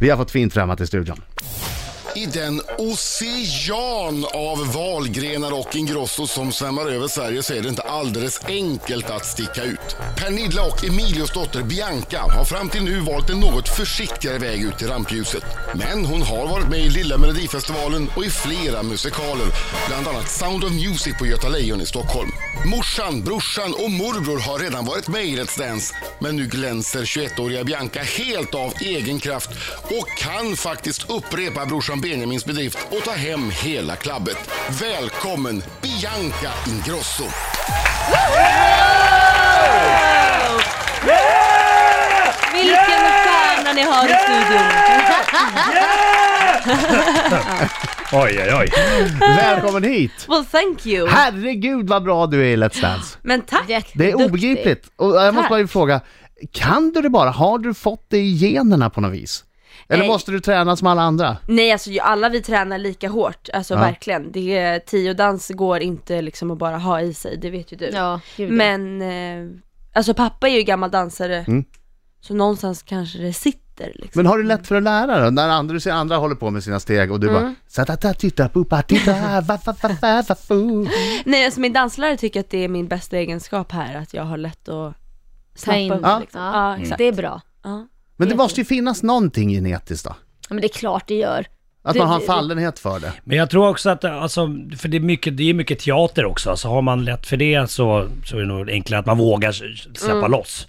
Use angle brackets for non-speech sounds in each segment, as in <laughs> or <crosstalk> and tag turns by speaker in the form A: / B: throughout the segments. A: Vi har fått fint främmat i studion.
B: I den ocean av valgrenar och Ingrosso som svämmar över Sverige så är det inte alldeles enkelt att sticka ut. Pernilla och Emilios dotter Bianca har fram till nu valt en något försiktigare väg ut i rampljuset. Men hon har varit med i Lilla Melodifestivalen och i flera musikaler, bland annat Sound of Music på Göta Lejon i Stockholm. Morsan, brorsan och morbror har redan varit med i Let's Dance, men nu glänser 21-åriga Bianca helt av egen kraft och kan faktiskt upprepa brorsan Benjamins bedrift och ta hem hela klabbet. Välkommen Bianca Ingrosso!
C: Vilken stjärna ni har i studion! <laughs>
D: Oj, oj, oj.
A: Välkommen hit!
C: Well, thank you!
A: Herregud vad bra du är i Let's Dance.
C: Men tack!
A: Det är obegripligt. Och jag måste bara fråga, kan du det bara? Har du fått det i generna på något vis? Eller
C: Nej.
A: måste du träna som alla andra?
C: Nej, alltså ju alla vi tränar lika hårt, alltså
A: Ja.
C: verkligen. Det är, tiodans går inte liksom att bara ha i sig, det vet ju du.
E: Ja, gud ja.
C: Men, eh, alltså pappa är ju gammal dansare,
E: Mm.
C: så någonstans kanske det sitter liksom.
A: Men har du lätt för att lära då? När andra, du ser andra håller på med sina steg och du bara "Satata, titta, pupa, titta, va, va, va, va, va, fu."
C: Nej, alltså min danslärare tycker att det är min bästa egenskap här, att jag har lätt att
E: Ta
C: snappa
E: in.
C: upp
E: Ja.
C: liksom. Ja, exakt.
F: Mm.
E: Det är bra.
C: Ja.
A: Men det måste ju finnas någonting genetiskt då?
E: Ja, men det är klart det gör.
A: Att
E: Du-
A: man har en
E: du-
A: fallenhet för det.
D: Men jag tror också att, alltså, för det är mycket, det är mycket teater också, alltså har man lätt för det så, så är det nog enklare att man vågar s- släppa loss.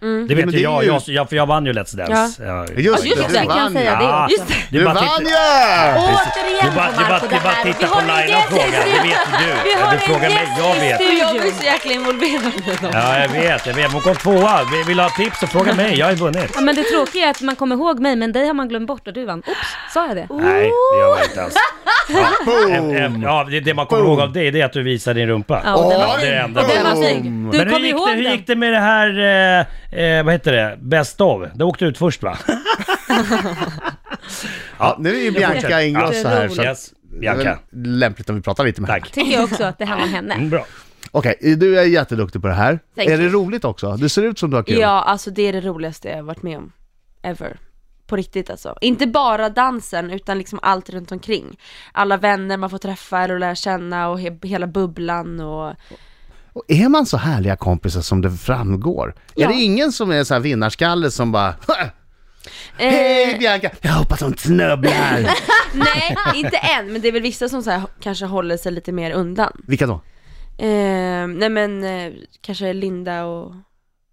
D: Det vet
A: men
D: ju
A: det är
D: jag,
A: ju-
D: jag, jag, för jag vann ju Let's Dance. Ja.
A: Just,
C: just
A: det,
C: det,
A: du
C: jag
E: Jag kan
A: vann
E: säga
A: ju.
E: det
D: Ja.
E: också.
C: Just det.
D: Det
A: Du
D: är bara att
A: vann
D: titta-
A: ju!
D: det
E: Återigen
D: är bara- det är bara-
E: Marco,
D: det är bara att titta på Laila och fråga, det vet ju du.
C: Vi har
D: Du frågar
C: en
D: mig,
C: gäst
D: jag
C: i
D: vet.
C: studion. Jag blir så jäkla involverad
E: <laughs>
C: i dem.
D: Ja, jag vet, jag vet. Hon kom tvåa. Vi- Vill du ha tips så fråga mig, jag har ju vunnit.
F: Ja, men det tråkiga är att man kommer ihåg mig, men dig har man glömt bort och du vann. Oops, sa jag det?
D: Nej, det gör jag inte alls.
A: Boom!
D: Em- Ja, det, det man kommer ihåg av dig, det är att du visar din rumpa.
F: Ja, och den
A: Åh,
F: var,
D: det är det enda.
F: och den var snygg.
A: Boom.
F: Du
D: Men hur
F: kommer
D: gick, det,
F: ihåg
D: hur
F: den.
D: gick det med det här, eh, eh, vad heter det, Best of? Det åkte ut först va?
A: Ja, nu är ju Bianca Ingrosso här så att
D: Yes, Bianca.
A: det är väl lämpligt om vi pratar lite med henne.
D: Tack.
F: Tycker jag också att det handlar om henne.
D: Mm, bra.
A: Okej, du är jätteduktig på det här.
E: Thank
A: är det
E: you.
A: roligt också? Du ser ut som du har kul.
C: Ja, alltså det är det roligaste jag har varit med om. Ever. På riktigt alltså. Inte bara dansen, utan liksom allt runt omkring. Alla vänner man får träffa och lära känna och he- hela bubblan och...
A: Och är man så härliga kompisar som det framgår? Är
C: Ja.
A: det ingen som är så här vinnarskalle som bara "Ha,
C: eh,
A: Hej Bianca! Jag hoppas hon snubblar!
C: nej, inte än, men det är väl vissa som så här, kanske håller sig lite mer undan.
A: Vilka då?
C: Eh, nej men, eh, kanske Linda och...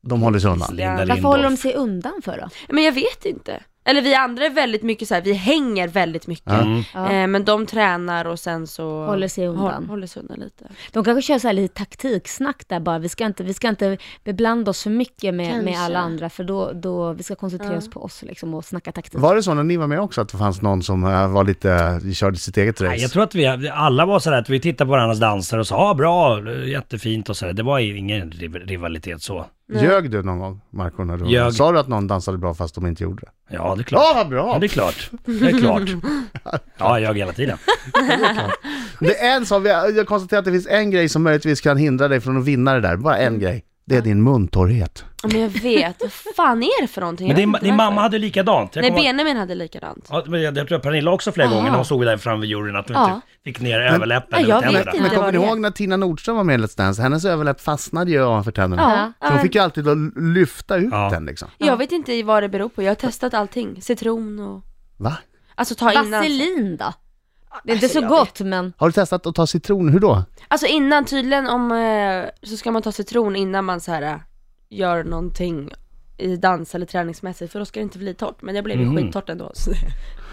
A: De håller sig undan.
D: Linda
E: Varför håller de
D: Lindorff.
E: sig undan för då?
C: Men jag vet inte. Eller vi andra är väldigt mycket så här, vi hänger väldigt mycket.
A: Mm.
E: Ja.
C: Eh, men de tränar och sen så...
E: Håller sig undan.
C: Hå- Håller sig undan lite.
F: De kanske kör så här lite taktiksnack där bara. Vi ska inte, vi ska inte beblanda oss för mycket med, med
E: Kanske.
F: alla andra, för då, då vi ska koncentrera oss på oss liksom och snacka taktik.
A: Var det så när ni var med också att det fanns någon som eh, var lite, körde sitt eget race?
D: Nej, jag tror att vi alla var sådär att vi tittade på varandras danser och sa ah, bra, jättefint och sådär. Det var ju ingen riv- rivalitet så.
A: Ljög du någon gång, Marco? När du...
D: Ljög.
A: Sa du att någon dansade bra fast de inte gjorde det?
D: Ja, det är klart.
A: Ja, vad
D: Ja,
A: bra!
D: det är klart. Det är klart. Ja, jag ljög hela tiden.
A: Det är en som, jag konstaterar att det finns en grej som möjligtvis kan hindra dig från att vinna det där. Bara
C: Mm.
A: en grej. Det är din muntorrhet.
C: Ja, Men jag vet, vad fan är det för någonting?
D: Men
C: Jag
D: din,
C: vet inte
D: din
C: varför.
D: mamma hade likadant. Jag
C: Nej,
D: kommer-
C: Benjamin hade likadant.
D: Ja, men jag, jag tror att Pernilla också flera gånger när hon såg där framme vid juryn att hon
C: Ja.
D: inte fick ner överläppen
C: Nej,
D: över
C: jag vet
D: tänderna.
C: inte.
A: Men
C: det
A: kommer
C: var
A: ni
C: det.
A: ihåg när Tina Nordström var med i Let's Dance? Hennes överläpp fastnade ju ovanför tänderna.
E: Ja.
A: Så hon fick ju alltid att lyfta ut
D: Ja.
A: den liksom.
C: Jag vet inte vad det beror på, jag har testat allting. Citron och...
A: Va?
C: Alltså ta innan.
F: Vaselin då? Det är inte
C: Alltså,
F: så
C: jag
F: gott, men
A: Har du testat att ta citron? Hur då?
C: Alltså innan tydligen om, eh, så ska man ta citron innan man så här eh, gör någonting i dans eller träningsmässigt för då ska det inte bli torrt. Men det blev ju skittorrt ändå. <laughs> Så.
F: men,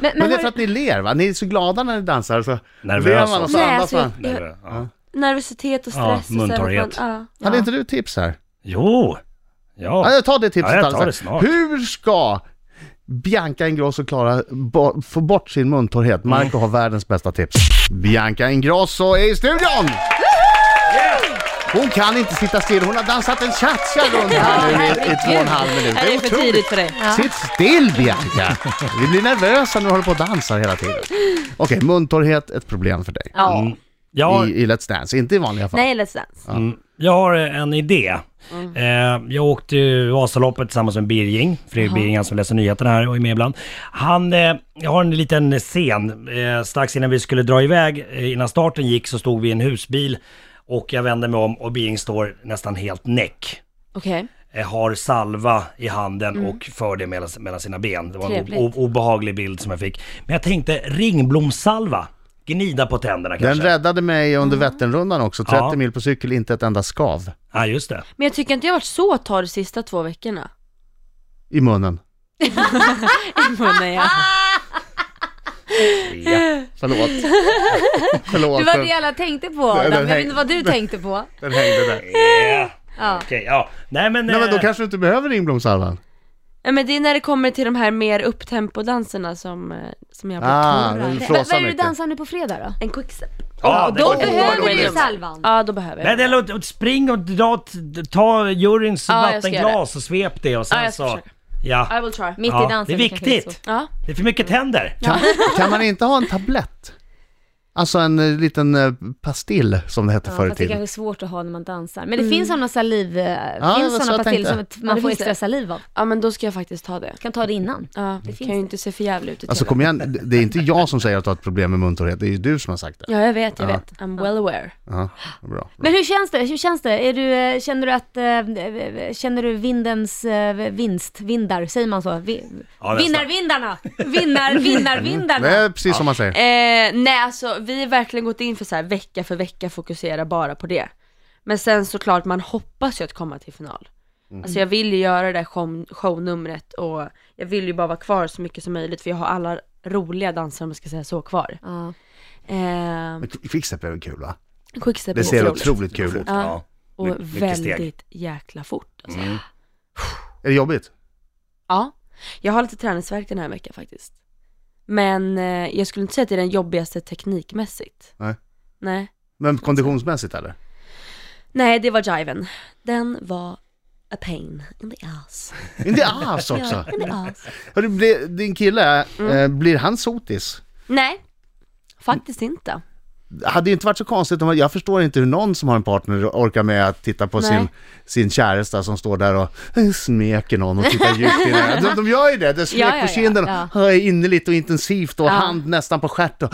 A: Men
F: men
A: det är för
F: har,
A: att ni ler va? Ni är så glada när ni dansar så
D: Nervösa.
A: ler man och så
C: Nej,
A: andas
C: alltså,
A: man.
D: Nej, det- ja.
C: Nervositet och
D: Ja,
C: stress. och så här,
D: muntorrhet.
C: att man- ja.
A: Hade inte du tips här?
D: Jo! Ja.
A: Ja, ta det tipset
D: Ja, jag tar
A: alltså.
D: det snart.
A: Hur ska Bianca Ingrosso klara bo- få bort sin muntorrhet?
D: Mm.
A: Marco har världens bästa tips. Bianca Ingrosso är i studion! Hon kan inte sitta still, hon har dansat en cha-cha runt här nu i, i två och en halv minut.
C: Nej, det är för
A: otroligt.
C: tidigt för dig.
A: Sitt still Bianca! Vi blir nervösa när du håller på och dansar hela tiden. Okej, muntorrhet ett problem för dig
E: Ja.
D: Ja,
A: i, i Let's Dance, inte i vanliga fall.
C: Nej, Let's Dance.
D: mm, jag har en idé. Eh, jag åkte ju Vasaloppet tillsammans med Birging, Fredrik Birging, han som läser nyheterna här och är med ibland. Han, eh, jag har en liten scen, eh, strax innan vi skulle dra iväg, eh, innan starten gick så stod vi i en husbil och jag vände mig om och Birging står nästan helt näck.
C: Okej.
D: eh, har salva i handen och för det mellan, mellan sina ben. Det var en
C: Trevligt.
D: o- obehaglig bild som jag fick. Men jag tänkte ringblomssalva, gnida på tänderna
A: Den
D: kanske.
A: räddade mig under
C: Mm.
A: Vätternrundan också. 30
D: Ja.
A: mil på cykel, inte ett enda skav
D: Ja, just det.
C: Men jag tycker inte jag har varit så torr de sista två veckorna.
A: i munnen.
C: Munnen, ja.
D: Ja.
F: <laughs>
A: Förlåt. Förlåt.
F: Det var det alla tänkte på
A: Nej,
F: Adam.
A: den
F: Jag
A: häng-
F: vet inte vad du tänkte på.
A: Den hängde där.
D: Eh. Okej, ja. Nej men...
A: Nej men då
D: eh,
A: kanske du inte behöver ringblomssalvan.
C: Ja, men det är när det kommer till de här mer upptempodanserna som, eh, som jag blir
A: Ah,
C: torr.
A: den
F: Va- Vad
A: flåsar
F: är det du
A: mycket.
F: dansar nu på fredag då?
C: En quickstep.
D: Ja, det
F: Då
D: var-
C: behöver
F: behöver
C: vi
F: vi
C: den.
F: salvan.
C: Ja, då behöver
D: Nej,
C: jag
D: det
C: den.
D: låt, spring och dra, t- ta juryns
C: Ja, jag ska göra
D: vattenglas och svep det och sen
C: Ja, jag ska
D: så...
C: försöka.
D: Ja.
C: I will try.
F: Mitt
D: ja.
F: i dansen.
D: Det är
F: kanske inte så.
D: viktigt.
C: Ja.
D: Det är för mycket tänder.
A: Kan, kan man inte ha en tablett? Alltså en eh, liten eh, pastill som det hette
F: Ja,
A: förr i
F: fast det kanske
A: tiden.
F: är svårt att ha när man dansar. Men det finns sådana saliv...
A: det var
F: eh, finns
A: så
F: sådana
A: jag
F: pastiller som
A: tänkte.
F: att
C: Mm. Ja,
F: man
C: det
F: får
C: finns
F: extra
C: det.
F: saliv av.
C: ja, men då ska jag faktiskt ta det.
F: Kan ta det innan.
C: Ja, det
F: finns
C: kan ju
F: det.
C: inte se för jävligt ut i
A: Alltså
C: TV.
A: kom igen, det- det är inte jag som säger att du har ett problem med muntorrhet, det är ju du som har sagt det.
C: Ja, jag vet, jag
A: Ja.
C: vet. I'm well aware.
A: Ja, bra.
F: Men hur känns det? Hur känns det? Är du, eh, känner du att... eh, Känner du vindens eh, vinst? Vindar? Säger man så? Vi,
D: Ja, nästan.
F: vinnarvindarna! Vinnar, vinnarvindarna!
A: Det är precis som man säger.
C: Eh, nej alltså vi har verkligen gått in för så här vecka för vecka fokusera bara på det. Men sen såklart man hoppas ju att komma till final.
A: Mm.
C: Alltså jag vill ju göra det där show, shownumret och jag vill ju bara vara kvar så mycket som möjligt för jag har alla roliga danser om jag ska säga så kvar.
F: Ja.
C: Eh,
A: Men qu- Quickstep är väl kul va?
C: Quickstep
A: Det
C: är
A: ser
C: otroligt.
A: otroligt kul ut.
C: Ja.
D: Ja. My-
C: Och
D: mycket steg.
C: väldigt jäkla fort alltså.
D: Mm.
A: Är det jobbigt?
C: Ja, jag har lite träningsvärk den här veckan faktiskt. Men eh, jag skulle inte säga att det är den jobbigaste teknikmässigt.
A: Nej.
C: Nej.
A: Men konditionsmässigt
F: <laughs>
A: eller?
C: Nej, det var jiven. Den var a pain in the ass.
A: Inte alls också.
C: Ja, in the ass.
A: Hörru, blir- din kille, eh,
F: Mm.
A: blir han sotis?
C: Nej, faktiskt inte.
A: Hade ju inte varit så konstigt om, man- jag förstår inte hur någon som har en partner orkar med att titta på
C: Nej.
A: sin, sin käresta som står där och eh, smeker någon och tittar djupt i det. De, de gör ju det, det är smek
C: Ja, ja,
A: på
C: ja,
A: kinden och ja. innerligt och intensivt och hand nästan på stjärt och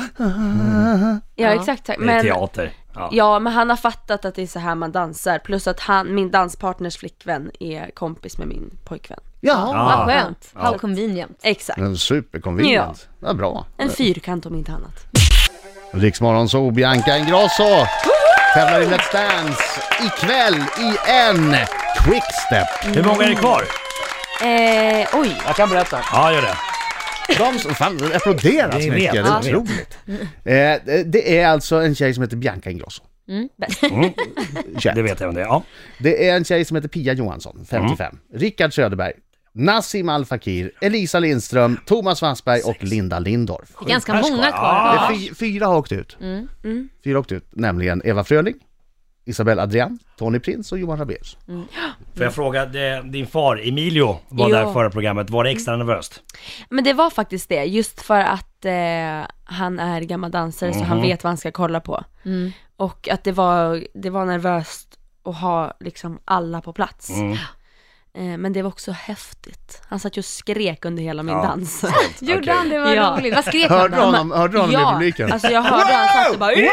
C: Ja, exakt.
D: Det är
C: Men,
D: teater. Ja.
C: ja, men han har fattat att det är så här man dansar. Plus att han, min danspartners flickvän är kompis med min pojkvän.
A: ja.
F: Vad skönt.
D: Ja.
F: How convenient.
C: Exakt.
A: En Superconvenient. Ja. bra.
C: En fyrkant om inte annat.
A: Riksmorgon så Bianca Ingrosso tävlar i Let's Dance ikväll i en quickstep.
D: Hur många är det kvar?
C: Eh, oj.
A: Jag kan berätta.
D: Ja, gör det.
A: De som fan det applåderas
D: Jag vet,
A: mycket, det är
D: jag vet.
A: otroligt. Eh, det är alltså en tjej som heter Bianca Ingrosso.
D: Mm.
A: Känd.
D: Det vet jag om det är. Ja.
A: Det är en tjej som heter Pia Johansson, 55. Rickard Söderberg, Nassim Al Fakir, Elisa Lindström, Thomas Wassberg och Linda Lindorff.
F: Det är ganska
D: Pers
F: många
D: kvar.
F: kvar.
A: Det
D: Ja.
A: är fy- fyra har åkt ut.
C: Mm,
A: Fyra har åkt ut, nämligen Eva Fröling, Isabel Adrian, Tony Prins och Johan Rabaeus.
D: Får
C: Mm.
D: jag fråga, det- din far Emilio var
C: Ja.
D: där förra programmet, var det extra
C: Mm.
D: nervöst?
C: Men det var faktiskt det, just för att eh, han är gammal dansare så han vet vad han ska kolla på. Och att det var, det var nervöst att ha liksom alla på plats. Eh, men det var också häftigt. Han satt ju och skrek under hela min
D: Ja.
C: dans.
F: Gjorde han det? Vad
C: Ja.
F: roligt. Vad skrek han
A: Hörde du
F: då?
A: honom, hörde du honom
C: <laughs>
A: i publiken?
C: alltså jag hörde han satt och bara "Ugh!"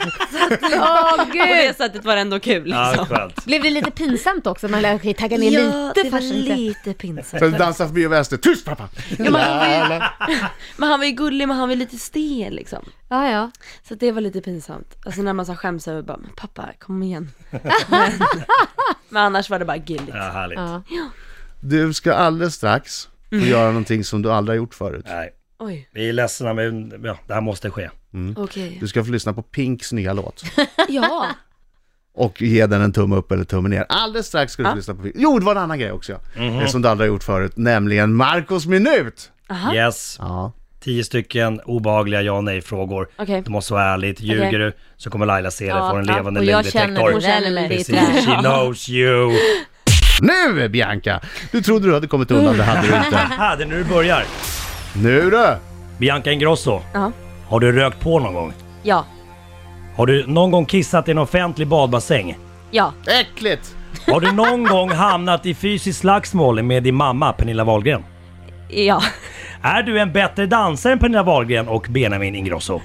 F: Åh
C: På
F: gud!
C: det sättet var det ändå kul
D: Ja,
C: liksom.
D: skönt.
F: Blev det lite pinsamt också? Man lär sig tagga ner lite.
C: det var
F: farsan, lite.
C: lite
A: Så
C: pinsamt.
A: dansade förbi och väste, tyst pappa!
C: men han var ju- Men han var ju gullig men han var ju lite stel liksom.
F: Ja, ja.
C: Så det var lite pinsamt. Alltså när man så skäms över bara, men pappa kom igen. <laughs> men, men annars var det bara gulligt.
D: Ja, härligt.
F: ja.
A: Du ska alldeles strax få
C: Mm.
A: göra någonting som du aldrig har gjort förut.
D: Nej,
C: Oj,
D: vi är ledsna men ja, det här måste ske.
C: okej.
A: Du ska få lyssna på Pinks nya låt
C: Mm. Ja,
A: och ge den en tumme upp eller tumme ner. Alldeles strax ska du få lyssna på Pink. Jo, det var en annan grej också, mm som du aldrig har gjort förut, nämligen Marcos minut!
C: Aha.
D: Yes,
A: Ja.
D: tio stycken obehagliga ja och nej-frågor.
C: Okej.
D: Det måste vara ärligt, ljuger
C: Okej.
D: du så kommer Laila se det,
F: Ja,
D: får en
F: ja,
D: levande
F: och jag känner
D: lögndetektor.
F: hon känner mig.
D: Precis,
F: lite.
D: she knows you.
A: Nu Bianca! Du trodde du hade kommit undan, det hade du inte.
D: Haha, det är nu du börjar.
A: Nu du!
D: Bianca Ingrosso,
C: Ja.
D: har du rökt på någon gång?
C: ja.
D: Har du någon gång kissat i en offentlig badbassäng?
C: Ja,
A: Äckligt!
D: Har
F: <laughs>
D: du någon gång hamnat i fysiskt slagsmål med din mamma Pernilla Wahlgren?
C: ja.
D: Är du en bättre dansare än Pernilla Wahlgren och Benjamin Ingrosso?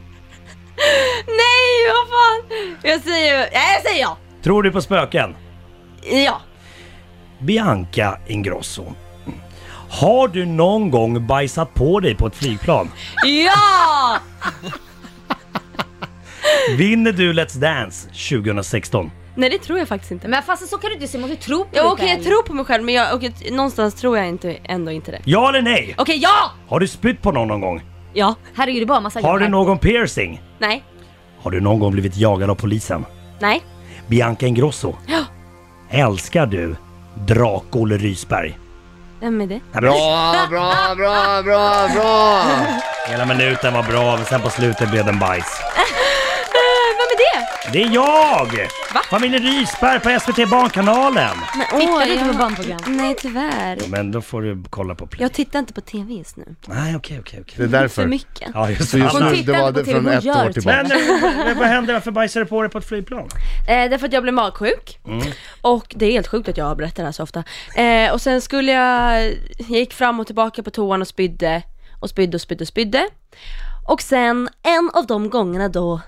C: Nej, vad fan! Jag säger, nej jag säger ja.
D: Tror du på spöken?
C: Ja.
D: Bianca Ingrosso. Har du någon gång bajsat på dig på ett flygplan?
C: Ja!
D: Vinner du Let's Dance 2016?
C: Nej det tror jag faktiskt inte.
E: Men fast så kan du inte säga, man måste tro på
C: Ja,
E: dig
C: okej jag
E: själv.
C: tror på mig själv men jag, okej, någonstans tror jag inte, ändå inte det.
D: Ja eller nej?
C: Okej ja!
D: Har du spytt på någon någon gång?
C: Ja.
E: Herregud, det är bara massa
D: Har
E: jag
D: du
E: här.
D: någon piercing?
C: Nej.
D: Har du någon gång blivit jagad av polisen?
C: Nej.
D: Bianca Ingrosso.
C: Ja.
D: Älskar du Drak-Olle Rysberg?
C: Vem är det?
A: Bra, bra, bra, bra, bra!
D: Hela minuten var bra, men sen på slutet blev den bajs.
C: Äh, vem är det?
D: Det är jag!
C: Va?
D: Familjen Rysberg på SVT Barnkanalen.
C: Men,
F: Tittar
C: åh,
F: du inte
C: jag-
F: på barnprogram?
C: Nej tyvärr.
D: Men då får du kolla på play.
C: Jag tittar inte på TV just nu.
D: Nej, okej, okej, okej.
A: Det är
C: För
A: därför.
C: mycket.
D: Ja, just
A: Så
D: det.
A: just
F: Hon
A: nu, det
F: tittar
A: var
F: inte på
A: från
F: TV,
A: ett
F: hon
A: år
F: gör
A: tillbaka.
D: Men eh, vad hände? Varför bajsade du på dig på ett flygplan?
C: Eh, därför att jag blev magsjuk. Och det är helt sjukt att jag berättar det här så ofta. Eh, och sen skulle jag, jag gick fram och tillbaka på toan och spydde. Och spydde och spydde och spydde. Och sen en av de gångerna då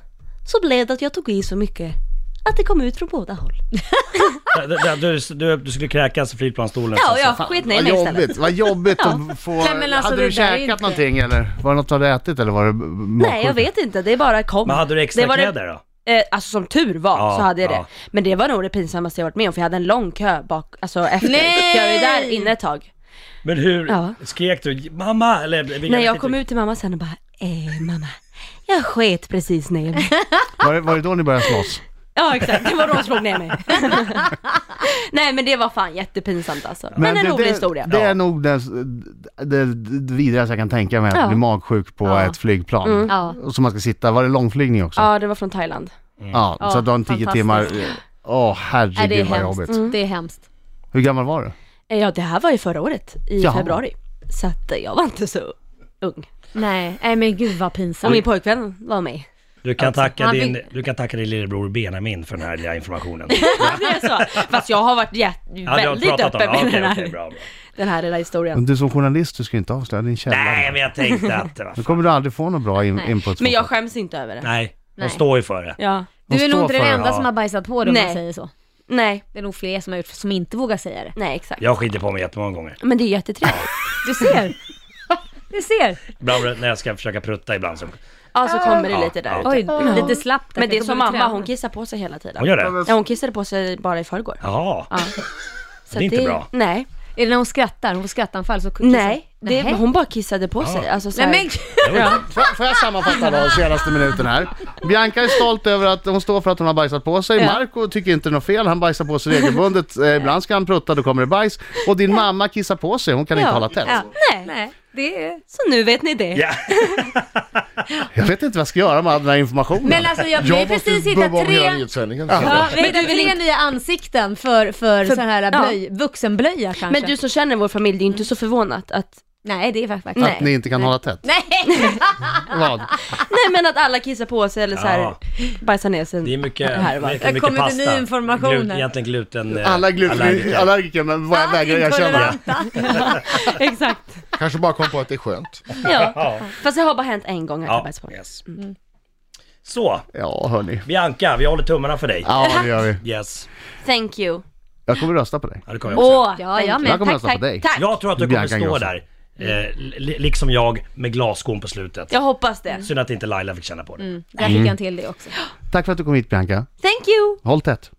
C: så blev det att jag tog i så mycket att det kom ut från båda håll.
D: Du, du, du, du skulle kräkas i flygplansstolen.
C: Ja,
D: så-
C: ja, skit nej
A: Vad
C: mig istället.
A: jobbigt, vad jobbigt att få...
F: Nej, men alltså,
A: hade du
F: det där är
A: käkat
F: inte-
A: någonting eller? Var det något du hade ätit eller var det
C: Nej, jag vet inte. Det bara kom.
D: Men hade du extra
C: Det var det-
D: kläder då?
C: Eh, alltså som tur var
D: Ja,
C: så hade jag
D: ja.
C: det. Men det var nog det pinsammaste jag varit med om för jag hade en lång kö bak, alltså efter.
F: Nej!
C: Jag var ju där inne ett tag.
D: Men hur
C: Ja.
D: skrek du? Mamma! Eller,
C: När jag kom ut till mamma sen och bara, eh mamma, jag sket precis ner mig.
A: Var det, var det då ni började slåss?
C: <laughs> ja exakt, det var då hon slog ner mig. <laughs> Nej men det var fan jättepinsamt alltså. Men, en
A: det,
C: rolig
A: det,
C: historia.
A: Det är nog det, det, det vidrigaste jag kan tänka mig, att
C: Ja.
A: bli magsjuk på
F: Ja. Mm.
A: ett flygplan.
F: Ja.
A: Och Som man ska sitta, var det långflygning också?
C: Ja det var från Thailand.
A: Ja, så att du har en tio
F: fantastiskt.
A: timmar... Åh
F: Nej, det är
A: herregud vad
F: hemskt. Mm.
A: jobbigt.
F: Det är hemskt.
A: Hur gammal var du?
C: Eh, Ja det här var ju förra året, i
A: Jaha.
C: februari. Så att eh, jag var inte så ung.
F: Nej, nej men gud vad
C: Och
F: pinsamt.
C: min pojkvän var med. <laughs>
D: Du kan,
C: Alltså,
D: tacka
F: han
D: din,
F: fick-
D: du kan tacka din lillebror Benjamin för den här
C: <laughs>
D: lilla informationen.
C: det är så. Fast jag har varit jät-
D: Ja, du har
C: väldigt
D: pratat om
C: öppen
D: det.
C: med
D: Ja, okej,
C: den, här,
D: okej, bra, Mm. bra.
C: den här lilla historien.
A: Men Du som journalist, du ska ju inte avslöja din källa.
D: Nej, men jag tänkte att... vad
A: Då
C: <laughs>
D: fan.
A: kommer du aldrig få någon bra in- input.
C: Men jag
A: från
C: skäms inte över det.
D: Nej, de
F: Nej.
D: står ju för det.
C: Ja.
F: Du är
A: Hon
F: nog
A: står
F: inte den
A: för det,
F: enda
D: ja.
F: som har bajsat på det om
C: Nej.
F: man säger så.
C: Nej,
F: Det är nog fler som har gjort som inte vågar säga det.
C: nej exakt.
D: Jag skiter på mig jättemånga gånger.
C: Men det är jättetrevligt.
F: Du ser! <laughs> Du ser!
D: Ibland när jag ska försöka prutta ibland så...
C: Ja så kommer det lite där.
D: Ja.
F: Oj, lite slappt.
C: Men det är
F: Jag
C: som mamma,
F: borde träna.
C: hon kissar på sig hela tiden.
D: Hon gör det?
C: Ja, hon kissade på sig bara i förrgår.
D: Jaha.
C: Så
D: det är
C: att
D: inte bra.
C: Nej,
F: Är det när hon skrattar? Hon får skrattanfall så kissar-
C: nej. Det,
F: Nähä.
C: hon bara kissade på sig. Alltså, så
F: Nej
C: här,
F: men
D: Det var ju-
A: folk. Får, får jag sammanfatta då, senaste minuten här? Bianca är stolt över att hon står för att hon har bajsat på sig. Marco tycker inte det är något fel, han bajsar på sig regelbundet. Eh, ibland ska han prutta, då kommer det bajs. Och din mamma kissar på sig, hon kan inte hålla tätt.
F: Ja.
C: nej.
F: Nej, det är...
C: Så nu vet ni det.
D: Ja.
A: Jag vet inte vad jag ska göra med all den här informationen.
F: Men alltså jag, vi har ju precis hittat
B: bubba om hela
F: tre...
B: nyhetssändningen.
F: Ja, vi har
C: Men du
F: hittat
C: vill
F: tre
C: inte-
F: nya ansikten för, för, sån här
C: ja.
F: blöj, vuxenblöja kanske.
C: Men du som känner vår familj, det är ju inte så förvånat att,
F: Nej, det är faktiskt...
C: Nej.
A: Att ni inte kan hålla tätt.
F: Nej!
A: <laughs> Vad?
C: nej men att alla kissar på sig eller så här,
D: Ja.
C: bajsar ner sig.
D: Det är mycket,
C: här, va?
D: mycket,
F: Här
D: mycket
F: kommer det
D: pasta.
F: ny information
D: Glut,
F: här.
D: egentligen gluten... eh,
A: Alla gluten-
D: allergiker.
A: allergiker, men vad jag vägrar erkänna.
F: <laughs>
C: Exakt.
B: Kanske bara kom på att det är skönt.
C: Ja. Fast det har bara hänt en gång att jag
D: Ja,
C: bajsar på mig.
D: yes.
C: Mm.
D: Så,
A: Ja, hörni.
D: Bianca, vi håller tummarna för dig.
A: Ja, det gör vi.
D: Yes.
C: Thank you.
A: Jag kommer rösta på dig.
D: Ja, det kommer jag också.
C: Åh,
F: Ja,
C: thank
F: jag
C: you.
A: Jag
F: med.
A: kommer
C: Tack,
A: rösta på
C: tack,
A: dig.
C: tack.
D: Jag tror att du kommer
A: Bianca
D: stå
A: Ingrosso.
D: där, eh, li, liksom jag, med glasskon på slutet.
C: Jag hoppas
F: Mm.
C: det.
D: Synd att inte Laila fick känna på det.
F: Där fick jag en till det också.
A: Tack för att du kom hit Bianca.
C: Thank you!
A: Håll tätt.